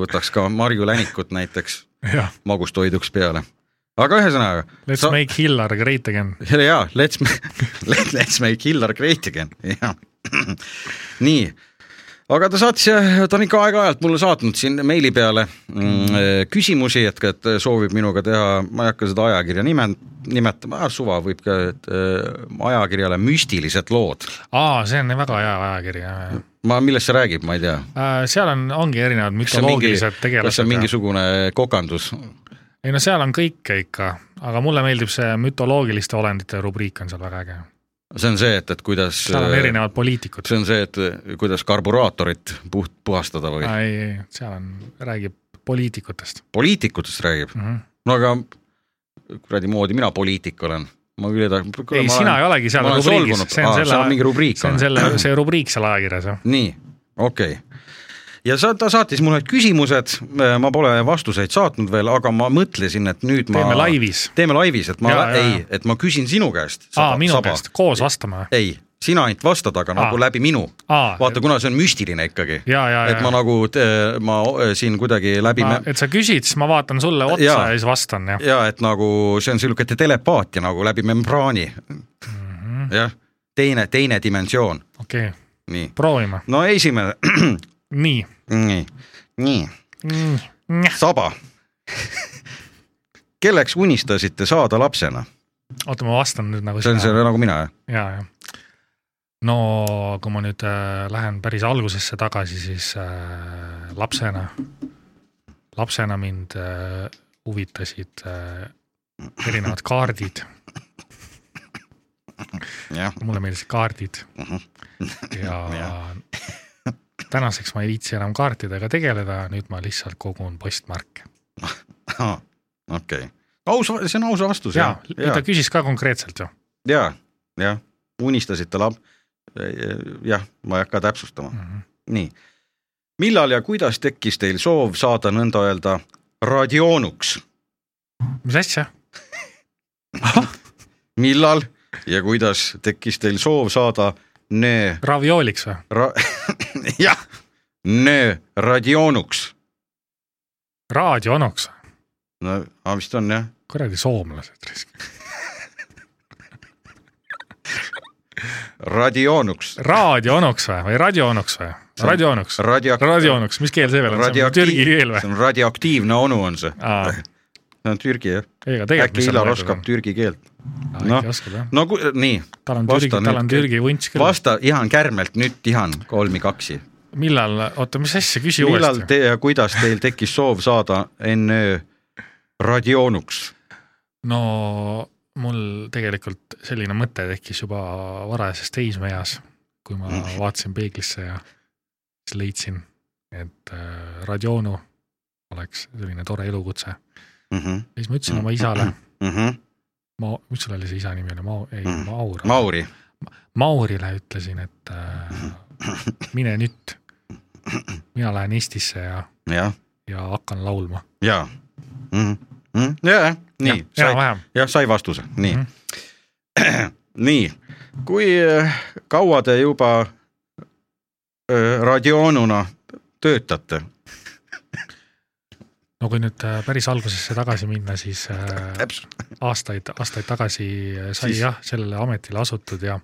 S2: võtaks ka Marju Länikut näiteks
S3: jah .
S2: magustoiduks peale . aga ühesõnaga .
S3: Let's Sa... make Hillar great again .
S2: jaa , let's , <laughs> let's make Hillar great again , jah . nii , aga ta saatis , ta on ikka aeg-ajalt mulle saatnud siin meili peale mm, küsimusi , et , et soovib minuga teha , ma ei hakka seda ajakirja nime , nimetama , suva võib ka et, äh, ajakirjale müstilised lood .
S3: aa , see on väga hea ajakiri , jah , jah .
S2: ma , millest see räägib , ma ei tea
S3: seal on , ongi erinevad
S2: kas see on mingi , kas
S3: mütoloogilised
S2: see on
S3: tegelased . Mingi...
S2: mingisugune kokandus ?
S3: ei no seal on kõike ikka , aga mulle meeldib see mütoloogiliste olendite rubriik on seal väga äge .
S2: see on see , et , et kuidas äh,
S3: seal on erinevad poliitikud .
S2: see on see , et kuidas karburaatorit puht , puhastada või ?
S3: ei , ei , seal on , räägib poliitikutest
S2: poliitikutest räägib ,
S3: mm . -hmm.
S2: no aga kuradi moodi mina poliitik olen , ma küll ei taha .
S3: ei , sina ei olegi seal
S2: ma olen
S3: rubriigis ,
S2: solvunud.
S3: see on
S2: Aa,
S3: selle
S2: seal on mingi rubriik
S3: see on
S2: või?
S3: selle , see rubriik seal ajakirjas , jah .
S2: nii , okei okay. ja sa , ta saatis mulle küsimused , ma pole vastuseid saatnud veel , aga ma mõtlesin , et nüüd ma
S3: teeme laivis .
S2: teeme laivis , et ma
S3: Jaa, jaa,
S2: ei
S3: jaa. ,
S2: et ma küsin sinu käest .
S3: aa , minu käest , koos vastame või ?
S2: ei , sina ainult vastad , aga nagu
S3: Aa.
S2: läbi minu .
S3: Aa.
S2: vaata , kuna see on müstiline ikkagi .
S3: Jaa, jaa,
S2: et
S3: jaa.
S2: ma nagu , ma eh, siin kuidagi läbi ma...
S3: et sa küsid , siis ma vaatan sulle otsa ja,
S2: Jaa.
S3: ja siis vastan , jah .
S2: ja et nagu see on niisugune telepaatia nagu läbi membraani mm . -hmm. jah , teine , teine dimensioon ,
S3: okei okay. ,
S2: nii .
S3: proovime .
S2: no esimene , <clears throat>
S3: nii
S2: nii , nii ,
S3: mm. .
S2: saba . <laughs> kelleks unistasite saada lapsena ?
S3: oota , ma vastan nüüd nagu
S2: see on see nagu mina , jah ?
S3: ja , ja . no kui ma nüüd äh, lähen päris algusesse tagasi , siis äh, lapsena , lapsena mind äh, huvitasid äh, erinevad kaardid ,
S2: jah ,
S3: mulle meeldisid kaardid
S2: Mhm. <laughs>
S3: ja tänaseks ma ei viitsi enam kaartidega tegeleda , nüüd ma lihtsalt kogun postmarke .
S2: okei . aus , see on aus vastus ,
S3: ja
S2: jah .,
S3: ta küsis ka konkreetselt ju .
S2: ja , jah , unistasite lab- , jah , ma ei hakka täpsustama mm ,
S3: Mhm.
S2: -hmm. nii . millal ja kuidas tekkis teil soov saada nõnda öelda radioonuks ,
S3: mis asja ?
S2: millal ja kuidas tekkis teil soov saada nöö
S3: raviooliks või ?
S2: ra- , <laughs> jah , nöö radioonuks ,
S3: raadionoks või ?
S2: no aga vist on jah ,
S3: kuradi soomlased risk .
S2: radioonuks ,
S3: raadionoks või , või radioonoks või ? radioonoks ,
S2: radio- ,
S3: radioonoks , mis keel see veel on , see on türgi keel
S2: see
S3: või ?
S2: on radioaktiivne onu on see ,
S3: ei ,
S2: see on Türgi jah ,
S3: aga tegelikult .
S2: äkki Illar oskab türgi keelt ,
S3: noh .
S2: noh.
S3: äkki oskab jah ,
S2: no ku- nii
S3: tal on
S2: Vasta
S3: türgi , tal
S2: nüüd.
S3: on türgi vunts küll .
S2: vasta , Ihan Kärmelt , nüüd Ihan kolmikaksi .
S3: millal , oota , mis asja , küsi
S2: millal
S3: uuesti .
S2: te ja kuidas teil tekkis soov saada NÖ radioonuks ?
S3: no mul tegelikult selline mõte tekkis juba varajases teismeeas , kui ma
S2: Mm.
S3: vaatasin peeglisse ja siis leidsin , et äh, radioonu oleks selline tore elukutse
S2: Mhm,
S3: ja siis ma ütlesin
S2: Mm.
S3: oma isale , ma , mis sul oli see isa nimi oli , Mau- , ei ,
S2: Mm.
S1: Mhm.
S3: Maur .
S2: Mauri ,
S3: Maurile ütlesin , et äh, mine nüüd . mina lähen Eestisse ja ,
S1: jah ,
S3: ja hakkan laulma .
S2: jaa .
S1: jajah , nii ,
S2: sai ,
S3: enam-vähem ,
S2: Mhm, jah , sai vastuse , nii
S3: Mhm.
S2: mm . -hmm. <clears throat> nii , kui äh, kaua te juba äh, radioonuna töötate ?
S3: no kui nüüd äh, päris algusesse tagasi minna , siis äh,
S2: täpselt ,
S3: aastaid , aastaid tagasi äh, sai
S2: Siis-
S3: jah , sellele ametile asutud ja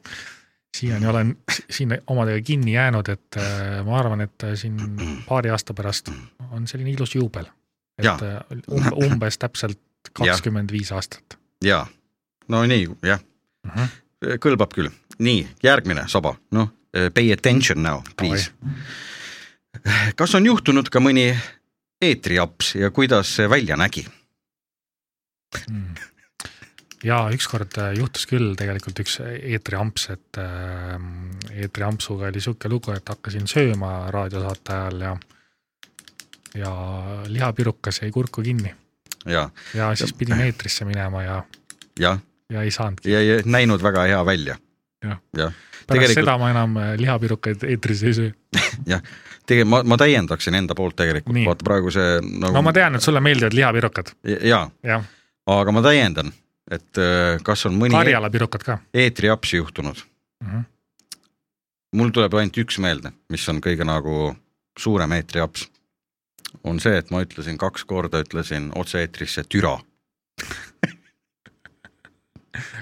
S3: siiani olen si- siin omadega kinni jäänud , et äh, ma arvan , et äh, siin paari aasta pärast on selline ilus juubel . et
S2: Jaa.
S3: äh, um- umbes täpselt
S2: Jah.
S3: kakskümmend viis aastat . Mhm.
S2: jaa . no nii , jah , Äh, kõlbab küll . nii , järgmine saba , noh , pay attention now , please . kas on juhtunud ka mõni eetriaps ja kuidas see välja nägi ?
S3: Mm. ja ükskord äh, juhtus küll tegelikult üks eetriamps , et äh, eetriampsuga oli sihuke lugu , et hakkasin sööma raadiosaate ajal ja , ja lihapirukas jäi kurku kinni
S2: ja ,
S3: ja siis pidin eetrisse minema ja ,
S2: jah ,
S3: ja ei saanudki .
S2: ja ja näinud väga hea välja .
S3: Jah.
S2: jah ,
S3: pärast
S2: tegelikult-
S3: tegelikult... seda ma enam äh, lihapirukaid eetris ei söö .
S2: jah , tegelikult ma , ma täiendaksin enda poolt tegelikult
S3: Nii. ,
S2: vaata praegu see nagu...
S3: no ma tean , et sulle meeldivad lihapirukad ,
S2: jaa ,
S3: jah ,
S2: aga ma täiendan , et äh, kas on mõni Karjala.
S3: Karjala pirukad ka
S2: eetriaps juhtunud .
S3: mm . -hmm.
S2: mul tuleb ainult üks meelde , mis on kõige nagu suurem eetriaps . on see , et ma ütlesin kaks korda , ütlesin otse-eetrisse türa .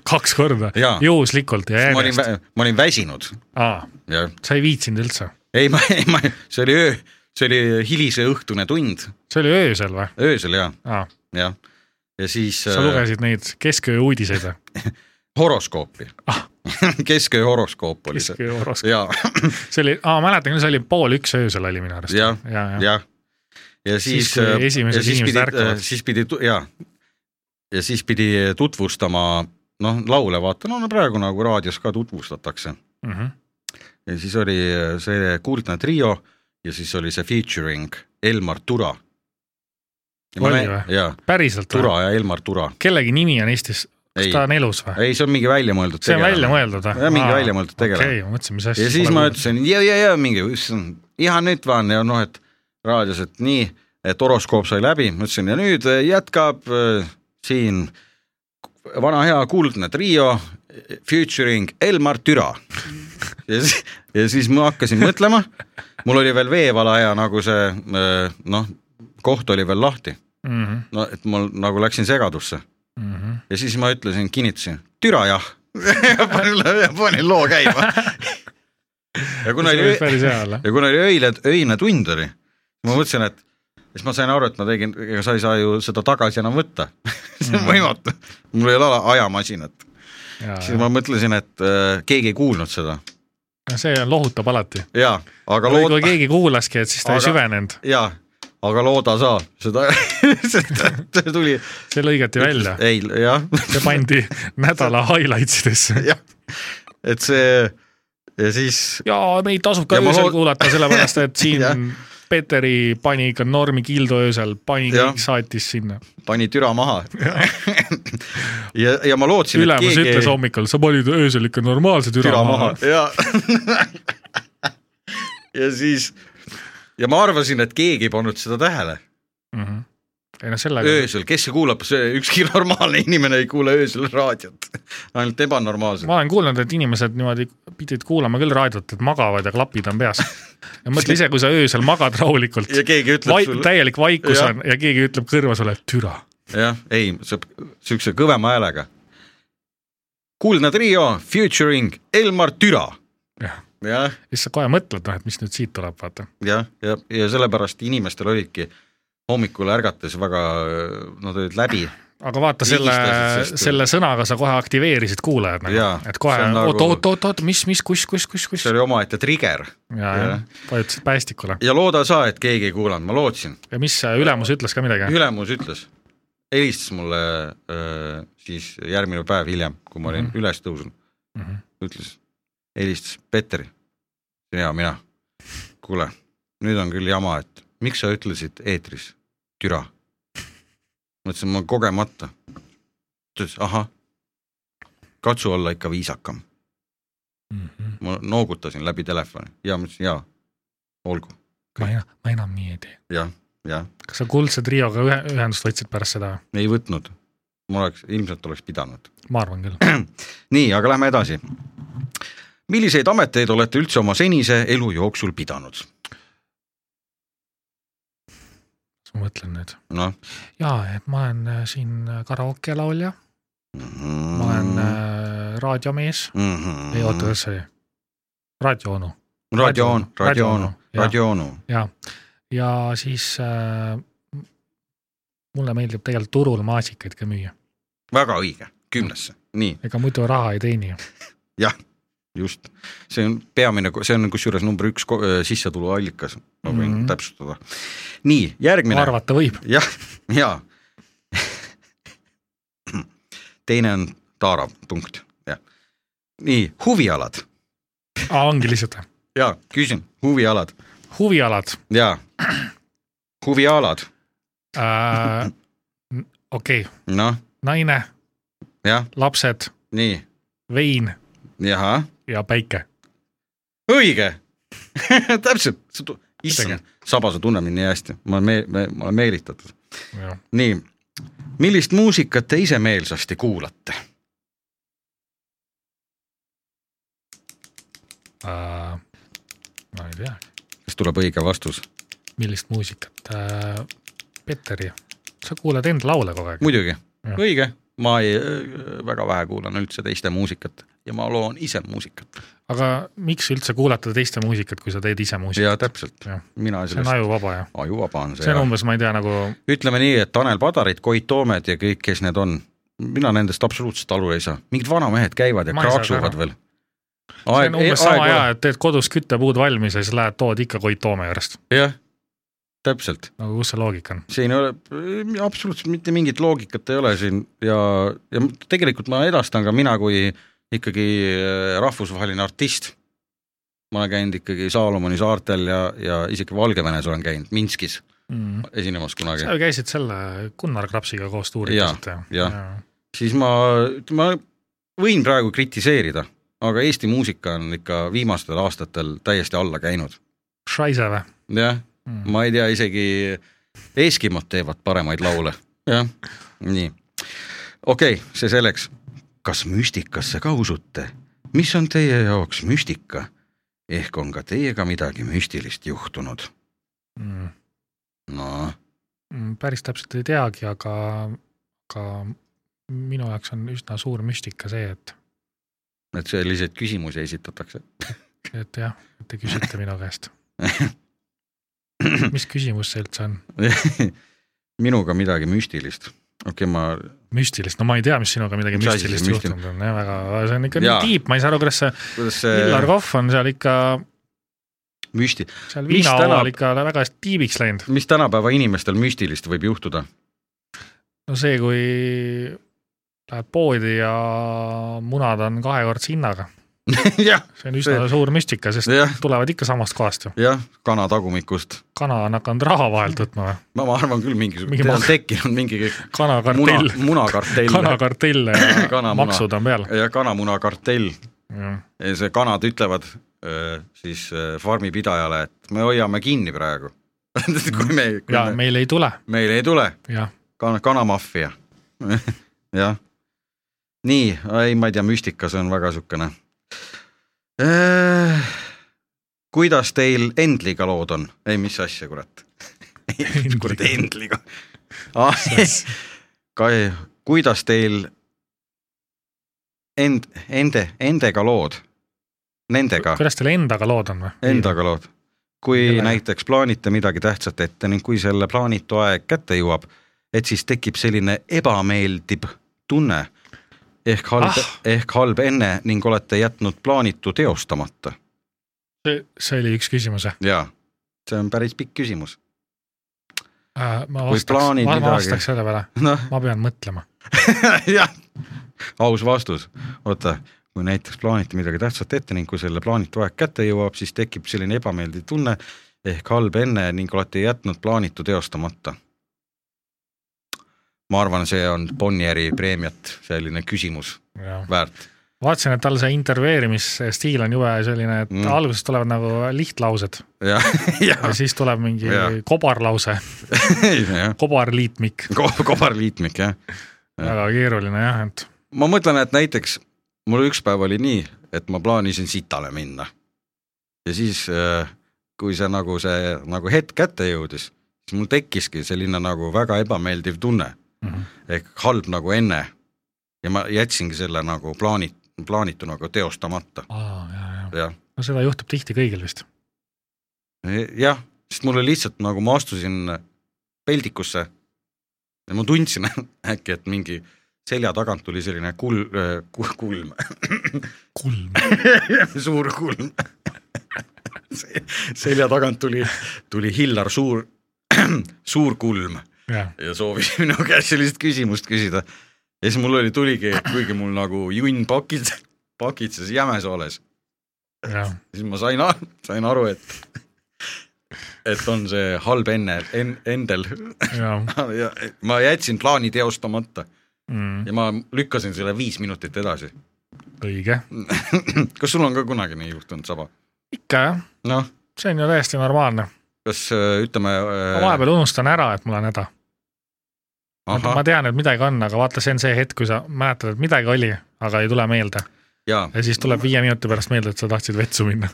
S3: kaks korda
S2: Jaa.
S3: juhuslikult ja
S2: ma olin
S3: järjest ,,
S2: ma olin väsinud
S3: aa ,
S2: ja
S3: sa ei viitsinud üldse ,
S2: ei , ma , ei ma , see oli öö , see oli hilise õhtune tund ,
S3: see oli öösel või ?
S2: öösel ja ,
S3: aa
S2: jah , ja siis äh,
S3: sa lugesid neid kesköö uudiseid või ?
S2: horoskoopi
S3: Ah. .
S2: <laughs> kesköö horoskoop oli see
S3: kesköö horoskoop ,
S2: ja ,
S3: see oli , aa mäletan küll , see oli pool üks öösel oli minu arust .
S2: Jah,
S3: ja , ja, ja. ,
S2: jah . ja siis,
S3: kui
S2: äh,
S3: esimesed
S2: ja siis
S3: inimesed
S2: pidi,
S3: ärkavad.
S2: äh, siis pidi tu- ja , ja siis pidi tutvustama noh , laule vaata , no no praegu nagu raadios ka tutvustatakse
S3: Mm -hmm.
S2: ja siis oli äh, see Kuldne trio ja siis oli see featuring Elmar Tura .
S3: Oli või?
S2: jaa ,
S3: päriselt või ?
S2: Tura ja Elmar Tura ,
S3: kellegi nimi on Eestis , kas
S2: Ei.
S3: ta on elus või ?
S2: ei see on mingi väljamõeldud
S3: see on välja mõeldud või ?
S2: Jah, mingi väljamõeldud tegelane.
S3: okei , ma mõtlesin , mis asja .
S2: ja siis ma . ütlesin ja , ja , ja mingi , issand , iha nüüd vaan ja noh , et raadios , et nii , et horoskoop sai läbi , ma ütlesin ja nüüd eh, jätkab äh, siin vana hea kuldne trio eh, featuring Elmar Türa . <laughs> ja siis , ja siis ma hakkasin mõtlema , mul oli veel veevalaja nagu see äh, noh , koht oli veel lahti ,
S3: Mhm,
S2: no et mul nagu läksin segadusse ja siis ma ütlesin , kinnitasin , türa jah . <laughs> panin , panin loo käima . ja kuna
S3: see
S2: oli
S3: oli , päris hea olla .
S2: ja kuna oli öine , öine tund oli , ma mõtlesin , et siis ma sain aru , et ma tegin , ega sa ei saa ju seda tagasi enam võtta . <laughs> see
S3: Mm.
S2: on võimatu , mul ei ole ala- ajamasinat . <laughs> siis ma mõtlesin , et äh, keegi ei kuulnud seda
S3: see lohutab alati .
S2: ja , aga
S3: või kui
S2: lood- ,
S3: keegi kuulaski , et siis ta ei
S2: Aga-
S3: süvenenud ,
S2: ja , aga looda sa , seda , <laughs> seda see tuli .
S3: see lõigati välja ,
S2: ei , jah <laughs>
S3: see pandi nädala highlights idesse .
S2: jah , et see ja siis
S3: jaa , meid tasub ka
S2: Ja ma
S3: öösel
S2: lood-
S3: kuulata , sellepärast
S2: <laughs>
S3: et siin
S2: Jah.
S3: Peteri pani ikka normi kildu öösel , pani
S2: Jah.
S3: kõik saatis sinna .
S2: pani türa
S3: <laughs>
S2: maha . ja , ja ma lootsin , et
S3: ülemus
S2: keegi
S3: ütles hommikul , sa panid öösel ikka normaalse türa maha .
S2: ja <laughs> ja siis ja ma arvasin , et keegi ei pannud seda tähele
S3: ei noh , sellega ,
S2: öösel , kes see kuulab , see ükski normaalne inimene ei kuule öösel raadiot , ainult ebanormaalsed .
S3: ma olen kuulnud , et inimesed niimoodi pidid kuulama küll raadiot , et magavad ja klapid on peas . ja mõtle ise , kui sa öösel magad rahulikult
S2: <laughs> ja , keegi ütleb
S3: vaik,
S2: sulle ,
S3: täielik vaikus
S2: Jah.
S3: on ja keegi ütleb kõrva sulle , et türa .
S2: jah , ei , siukse kõvema häälega . kuldne trio featuring Elmar Türa .
S3: Jah.
S2: jah ,
S3: siis sa kohe mõtled , noh , et mis nüüd siit tuleb , vaata .
S2: jah , ja , ja sellepärast inimestel olidki hommikul ärgates väga , nad olid läbi
S3: aga vaata selle
S2: Ligistasid , sest-
S3: selle sõnaga sa kohe aktiveerisid kuulajad
S2: Jaa,
S3: nagu , et kohe
S2: see on nagu-
S3: oot-oot-oot-oot , mis , mis , kus , kus , kus , kus
S2: see . oli omaette trigger
S3: ja ,
S2: Jah.
S3: ja vajutasid päästikule
S2: ja looda sa , et keegi ei kuulanud , ma lootsin ,
S3: ja mis see ülemus ütles ka midagi ?
S2: ülemus ütles , helistas mulle öö, siis järgmine päev hiljem , kui ma olin mm -hmm. üles tõusnud mm ,
S3: Mhm.
S2: -hmm. ütles , helistas Petteri ja mina , kuule , nüüd on küll jama , et miks sa ütlesid eetris türa ? mõtlesin , ma kogemata . ta ütles ahah , katsu olla ikka viisakam .
S3: Mhm.
S2: ma noogutasin läbi telefoni ja ma ütlesin jaa , olgu ,
S3: ma enam , ma enam nii ei tee .
S2: jah , jah ,
S3: kas sa kuldse trioga ühe , ühendust võtsid pärast seda ?
S2: ei võtnud . ma oleks , ilmselt oleks pidanud .
S3: ma arvan küll .
S2: nii , aga lähme edasi . milliseid ameteid olete üldse oma senise elu jooksul pidanud ?
S3: ma mõtlen nüüd .
S2: noh
S3: jaa , et ma olen äh, siin karaoke laulja ,
S2: mm,
S3: ma olen äh, raadiomees ,
S2: mm -hmm.
S3: ei oota , kas see oli ? raadioonu ,
S2: Radio on , Radio on
S3: Radioonu, , jah.
S2: Radio on .
S3: jaa . ja siis äh, mulle meeldib tegelikult turul maasikaid ka müüa ,
S2: väga õige , kümnesse , nii ,
S3: ega muidu raha ei teeni .
S2: jah , just . see on peamine , see on kusjuures number üks ko- äh, sissetuluallikas , ma võin mm
S3: Mhm.
S2: -hmm. täpsustada . nii , järgmine ,
S3: arvata võib ,
S2: jah , jaa . teine on taarav punkt , jah . nii , huvialad ,
S3: ongi lihtsalt
S2: jaa , küsin , huvialad ,
S3: huvialad
S2: jaa , huvialad ,
S3: äh, . okei okay. ,
S2: noh ,
S3: naine ,
S2: jah ,
S3: lapsed ,
S2: nii ,
S3: vein
S2: jahah
S3: ja päike .
S2: õige , <laughs> täpselt , sa tu- , issand
S3: Midagi. ,
S2: saba , sa tunned mind nii hästi , ma olen me- , me- , ma olen meelitatud . nii , millist muusikat te ise meelsasti kuulate ?
S3: Äh, ma ei tea ,
S2: kas tuleb õige vastus ?
S3: millist muusikat äh, , Peteri , sa kuulad enda laule kogu aeg .
S2: muidugi ,
S3: Jah.
S2: õige , ma ei , väga vähe kuulan üldse teiste muusikat ja ma loon ise muusikat .
S3: aga miks üldse kuulata teiste muusikat , kui sa teed ise
S2: jaa ,
S3: muusikat ?
S2: täpselt
S3: Jah. ,
S2: mina
S3: see on
S2: sellest ,
S3: ajuvaba ja
S2: ajuvaba on see,
S3: see on
S2: see .
S3: umbes , ma ei tea , nagu
S2: ütleme nii , et Tanel Padarid , Koit Toomed ja kõik , kes need on , mina nendest absoluutselt aru ei saa , mingid vanamehed käivad ja
S3: Ma ei saa ka
S2: kraaksuvad
S3: aru.
S2: veel .
S3: see on umbes sama hea , et teed kodus küttepuud valmis ja siis lähed tood ikka Koit Toome juurest .
S2: jah , täpselt ,
S3: nagu kus see loogika on ?
S2: siin ei ole äh, absoluutselt mitte mingit loogikat ei ole siin ja , ja tegelikult ma edastan ka mina kui ikkagi äh, rahvusvaheline artist . ma olen käinud ikkagi Saalomoni saartel ja , ja isegi Valgevenes olen käinud , Minskis Mm. esinemas kunagi
S3: sa . ju käisid selle Gunnar Krapsiga koos tuuril
S2: Jaa,
S3: käisite
S2: jah. siis ma , ma võin praegu kritiseerida , aga Eesti muusika on ikka viimastel aastatel täiesti alla käinud .
S3: Shaisa või ? Mm.
S2: jah , ma ei tea , isegi Eskimod teevad paremaid laule . jah , nii . okei okay, , see selleks . kas müstikasse ka usute ? mis on teie jaoks müstika ? ehk on ka teiega midagi müstilist juhtunud ?
S3: mm. .
S2: noh ,
S3: Mm, päris täpselt ei teagi , aga , aga minu jaoks on üsna suur müstika see , et ,
S2: et selliseid küsimusi esitatakse .
S3: et jah , te küsite minu
S2: <laughs>
S3: käest . mis küsimus see üldse on ?
S2: minuga midagi müstilist . okei okay, , ma
S3: müstilist , no ma ei tea , mis sinuga midagi
S2: Mis asi see
S3: müstilist
S2: müstiline-
S3: juhtunud on , jah , väga , see on ikka
S2: Jaa.
S3: nii tiip , ma ei saa aru , kuidas see
S2: kuidas see
S3: Illar Kohv on seal ikka ,
S2: müsti- ,
S3: seal
S2: Mis
S3: viinahooval
S2: täna-
S3: ikka väga hästi tiibiks läinud .
S2: mis tänapäeva inimestel müstilist võib juhtuda ?
S3: no see , kui lähed poodi ja munad on kahekordse hinnaga ,
S2: <laughs> jah ,
S3: see on üsna
S2: See-
S3: suur müstika , sest
S2: jah ,
S3: tulevad ikka samast kohast ju .
S2: jah , kanatagumikust . kana ,
S3: kana on hakanud raha vahelt võtma või ?
S2: ma ma arvan küll mingisugune ,
S3: Mingi
S2: teil on
S3: mak-
S2: tekkinud mingi muna
S3: kanakartell ,,
S2: munakartell
S3: kanakartell ja
S2: <laughs> Kanamuna.
S3: maksud on peal .
S2: ja kanamunakartell . see kanad ütlevad öö, siis öö, farmi pidajale , et me hoiame kinni praegu . <laughs> kui me , kui
S3: ja
S2: me,
S3: meil ei tule ,
S2: meil ei tule
S3: jah .
S2: kana , kanamaffia . <laughs> jah , nii , ei , ma ei tea , müstika , see on väga niisugune . kuidas teil Endliga lood on ? ei , mis asja , kurat . <laughs> kurat , Endliga . Kai , kuidas teil end , ende , endega lood , nendega ,
S3: kuidas teil endaga lood on või ?
S2: endaga lood ? kui
S3: Kellega?
S2: näiteks plaanite midagi tähtsat ette ning kui selle plaanitu aeg kätte jõuab , et siis tekib selline ebameeldiv tunne ehk halb
S3: Ah.
S2: ah. , ehk halb enne ning olete jätnud plaanitu teostamata .
S3: see oli üks küsimus jah ?
S2: jaa , see on päris pikk küsimus . <laughs>
S3: Äh, ma
S2: Kui
S3: vastaks ,
S2: plaanid
S3: ma
S2: midagi-
S3: vastaks selle peale ,
S2: noh ,
S3: ma pean mõtlema .
S2: <laughs> jah , aus vastus . oota , kui näiteks plaanite midagi tähtsat ette ning kui selle plaanitu aeg kätte jõuab , siis tekib selline ebameeldiv tunne ehk halb enne ning olete jätnud plaanitu teostamata . ma arvan , see on Bonnieri preemiat selline küsimus väärt .
S3: vaatasin , et tal see intervjueerimisstiil on jube selline , et
S2: Mm.
S3: mm. alguses tulevad nagu lihtlaused
S2: jah , <laughs> jah
S3: ja , siis tuleb mingi
S2: Jah.
S3: kobarlause ,
S2: jah ,
S3: kobarliitmik ,
S2: kobarliitmik jah .
S3: väga keeruline jah , et
S2: ma mõtlen , et näiteks mul üks päev oli nii , et ma plaanisin sitale minna . ja siis , kui see nagu see nagu hetk kätte jõudis , siis mul tekkiski selline nagu väga ebameeldiv tunne
S3: mm -hmm.
S2: ehk halb nagu enne . ja ma jätsingi selle nagu plaani , plaanitu nagu teostamata ,
S3: Aa, jah, jah.
S2: jah .
S3: no seda juhtub tihti kõigil vist .
S2: jah , sest mulle lihtsalt nagu ma astusin peldikusse ja ma tundsin <laughs> äkki , et mingi selja tagant tuli selline kul- , kulm ,
S3: kulm .
S2: <laughs> suur kulm . selja tagant tuli , tuli Hillar Suur , <clears throat> suur kulm
S3: jah ,
S2: ja soovis <laughs> minu käest sellist küsimust küsida . ja siis mul oli , tuligi , kuigi mul nagu junn pakid , pakitses jämes olles ,
S3: jah ,
S2: siis ma sain , sain aru , et , et on see halb enne en, , endel . <laughs>
S3: jah
S2: ja ma jätsin plaani teostamata
S3: mm, ,
S2: ja ma lükkasin selle viis minutit edasi . <clears throat>
S3: õige .
S2: kas sul on ka kunagi nii juhtunud , Saba ?
S3: ikka jah ,
S2: noh ,
S3: see on ju täiesti normaalne .
S2: kas äh, ütleme
S3: ma vahepeal unustan ära , et mul on häda . ma tean , et midagi on , aga vaata , see on see hetk , kui sa mäletad , et midagi oli , aga ei tule meelde .
S2: jaa ,
S3: ja siis tuleb viie minuti pärast meelde , et sa tahtsid vetsu minna .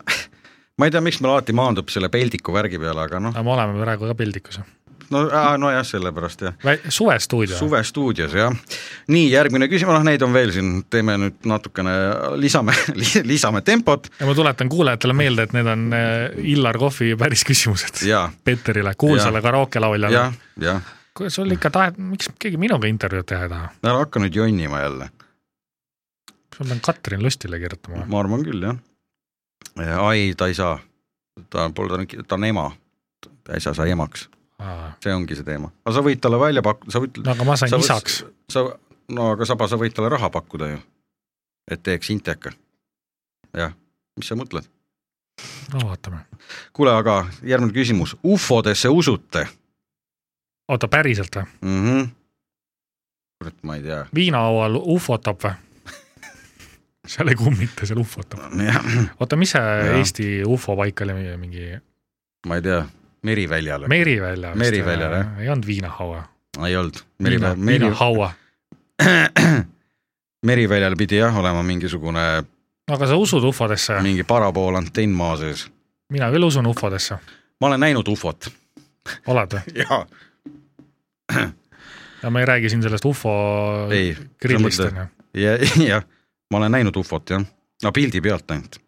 S2: ma ei tea , miks meil alati maandub selle peldiku värgi peale , aga noh ,
S3: aga me oleme praegu ka pildikus .
S2: no aa, nojah , sellepärast jah .
S3: suvestuudio .
S2: suvestuudios jah . nii , järgmine küsimus , noh neid on veel siin , teeme nüüd natukene , lisame , <laughs> lisame tempot
S3: ja ma tuletan kuulajatele meelde , et need on äh, Illar Kohvi päris küsimused .
S2: ja ,
S3: Peterile , kuulsale karookelauljale
S2: jah ,. jah .
S3: kuidas sul ikka tahet , miks keegi minuga intervjuud teha ei taha ?
S2: ära hakka nüüd jonnima jälle ,
S3: ma pean Katrin Lustile kirjutama .
S2: ma arvan küll jah . ai , ta ei saa , ta pole , ta on ema , ta ei saa sai emaks ,
S3: no
S2: see ongi see teema , aga sa võid talle välja pakkuda , sa võid ,
S3: aga ma sain
S2: Sa
S3: sa
S2: võts-
S3: isaks ,
S2: sa , no aga Saba , sa võid talle raha pakkuda ju , et teeks Inteka . jah , mis sa mõtled ?
S3: no vaatame .
S2: kuule , aga järgmine küsimus , ufodesse usute
S3: oota , päriselt või ?
S2: mm ? -hmm. kurat , ma ei tea .
S3: viinahaual ufotab või ? seal ei kummita , seal ufotab . oota , mis see
S2: Jah.
S3: Eesti ufo paik oli , mingi
S2: ma ei tea , Meriväljale Me... ,
S3: Merivälja ?
S2: Merivälja, jah. .
S3: ei olnud viinahaua .
S2: ei olnud , Merivä- , Meri ,
S3: viinahaua .
S2: Meriväljal pidi jah olema mingisugune ,
S3: no aga sa usud ufodesse või ?
S2: mingi paraboolantenn maa sees .
S3: mina küll usun ufodesse .
S2: ma olen näinud ufot .
S3: oled või ?
S2: jaa .
S3: ja ma ei räägi siin sellest ufo
S2: ei ,
S3: grillist
S2: sa mõtled-
S3: onju .
S2: <laughs> jah , ma olen näinud ufot jah , no pildi pealt ainult .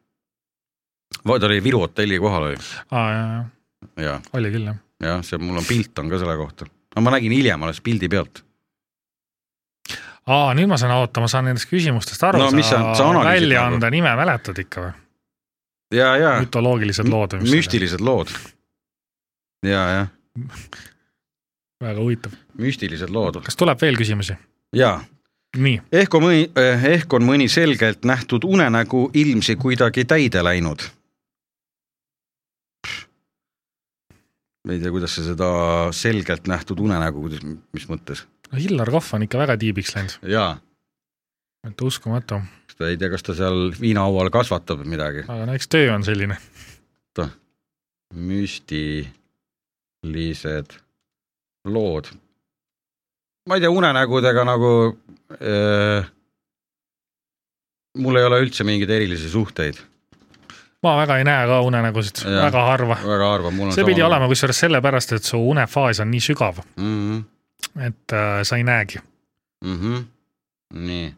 S2: ta oli Viru hotelli kohal oli
S3: aa , jaa , jaa ,
S2: ja ,
S3: oli küll jah .
S2: ja see mul on pilt on ka selle kohta , aga ma nägin hiljem alles pildi pealt .
S3: aa , nüüd ma saan oota , ma saan nendest küsimustest aru .
S2: No mis sa- sa analüüsid
S3: väljaande nime mäletad ikka või ?
S2: ja , ja
S3: mütoloogilised lood või mis ?
S2: müstilised lood . ja , jah ,
S3: väga huvitav .
S2: müstilised lood
S3: kas tuleb veel küsimusi ?
S2: ja
S3: nii ,
S2: ehk on mõni , ehk on mõni selgelt nähtud unenägu ilmsi kuidagi täide läinud . ma ei tea , kuidas sa seda selgelt nähtud unenägu , kuidas , mis mõttes ?
S3: no Hillar Kohv on ikka väga tiibiks läinud ,
S2: jaa ,
S3: et uskumatu ,
S2: ta ei tea , kas ta seal viinahaual kasvatab midagi .
S3: aga no eks töö on selline .
S2: müstilised lood . ma ei tea , unenägudega nagu äh, mul ei ole üldse mingeid erilisi suhteid ,
S3: ma väga ei näe ka unenägusid ,
S2: Jah.
S3: väga harva .
S2: väga harva , mul on
S3: see pidi olema kusjuures sellepärast , et su unefaas on nii sügav ,
S2: mm . -hmm.
S3: et äh, sa ei näegi .
S2: mm . -hmm. nii ,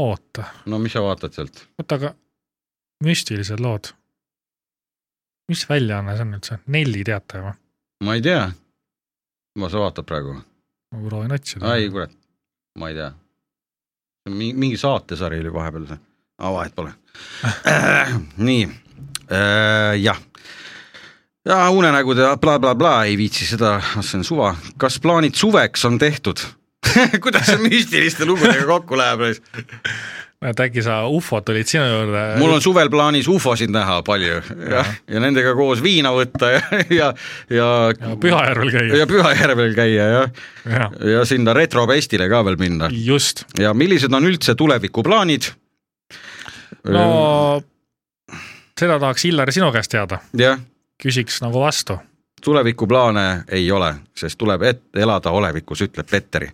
S3: oota ,
S2: no mis sa vaatad sealt ?
S3: oota , aga müstilised lood . mis väljaanne see on üldse , Nelli teataja või ?
S2: ma ei tea . ma , sa vaatad praegu ?
S3: ma proovin otsida .
S2: ai kurat , ma ei tea . mingi , mingi saatesari oli vahepeal see , aga vahet pole . nii , jah . ja unenägude blablabla bla, , ei viitsi seda , see on suva . kas <laughs> plaanid suveks on tehtud ? kuidas see müstiliste lugudega kokku läheb ?
S3: et äkki sa ufod tulid sinu juurde . äh,
S2: mul on suvel plaanis ufosid näha palju ja, ja nendega koos viina võtta ja , ja , ja, ja
S3: Pühajärvel käia
S2: ja . Pühajärvel käia ja ,
S3: jah ,
S2: ja sinna retrofestile ka veel minna .
S3: just .
S2: ja millised on üldse tulevikuplaanid ?
S3: no seda tahaks Illar sinu käest teada ,
S2: jah ,
S3: küsiks nagu vastu .
S2: tulevikuplaane ei ole , sest tuleb ette elada olevikus , ütleb Petteri .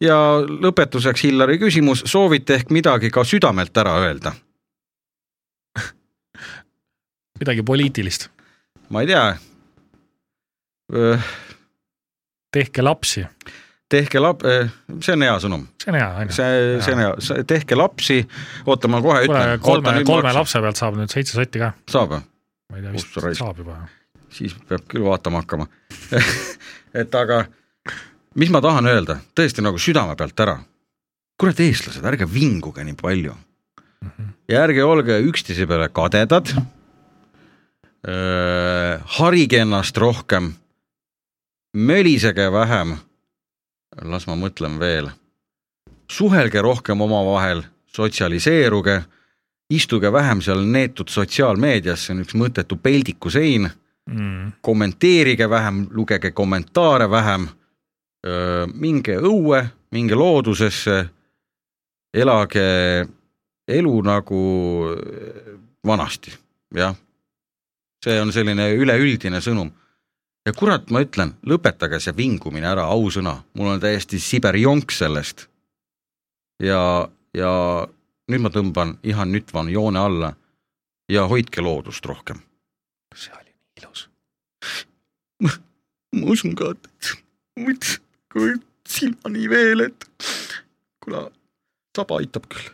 S2: ja lõpetuseks Hillari küsimus , soovite ehk midagi ka südamelt ära öelda ?
S3: midagi poliitilist ,
S2: ma ei tea .
S3: tehke lapsi ,
S2: tehke lap- , see on hea sõnum ,
S3: see on hea , on ju .
S2: see , see on hea , tehke lapsi , oota , ma kohe
S3: kuule
S2: ütlen ,.
S3: kolme , kolme . lapse pealt saab nüüd seitse sotti ka ,
S2: saab või ?
S3: ma ei tea , vist
S2: Ups, raisk.
S3: saab juba .
S2: siis peab küll vaatama hakkama . <laughs> et aga mis ma tahan öelda , tõesti nagu südame pealt ära . kurat , eestlased , ärge vinguge nii palju . ja ärge olge üksteise peale kadedad . harige ennast rohkem . mölisege vähem . las ma mõtlen veel . suhelge rohkem omavahel , sotsialiseeruge istuge vähem seal neetud sotsiaalmeedias , see on üks mõttetu peldiku sein
S3: Mm.
S2: kommenteerige vähem , lugege kommentaare vähem , minge õue , minge loodusesse , elage elu nagu öö, vanasti , jah . see on selline üleüldine sõnum . ja kurat , ma ütlen , lõpetage see vingumine ära , ausõna , mul on täiesti siber jonk sellest . ja , ja nüüd ma tõmban , ihan nüüd van joone alla ja hoidke loodust rohkem .
S3: see oli nii ilus .
S2: ma usun ka , et müts , kui silmani veel , et kuule , saba aitab küll .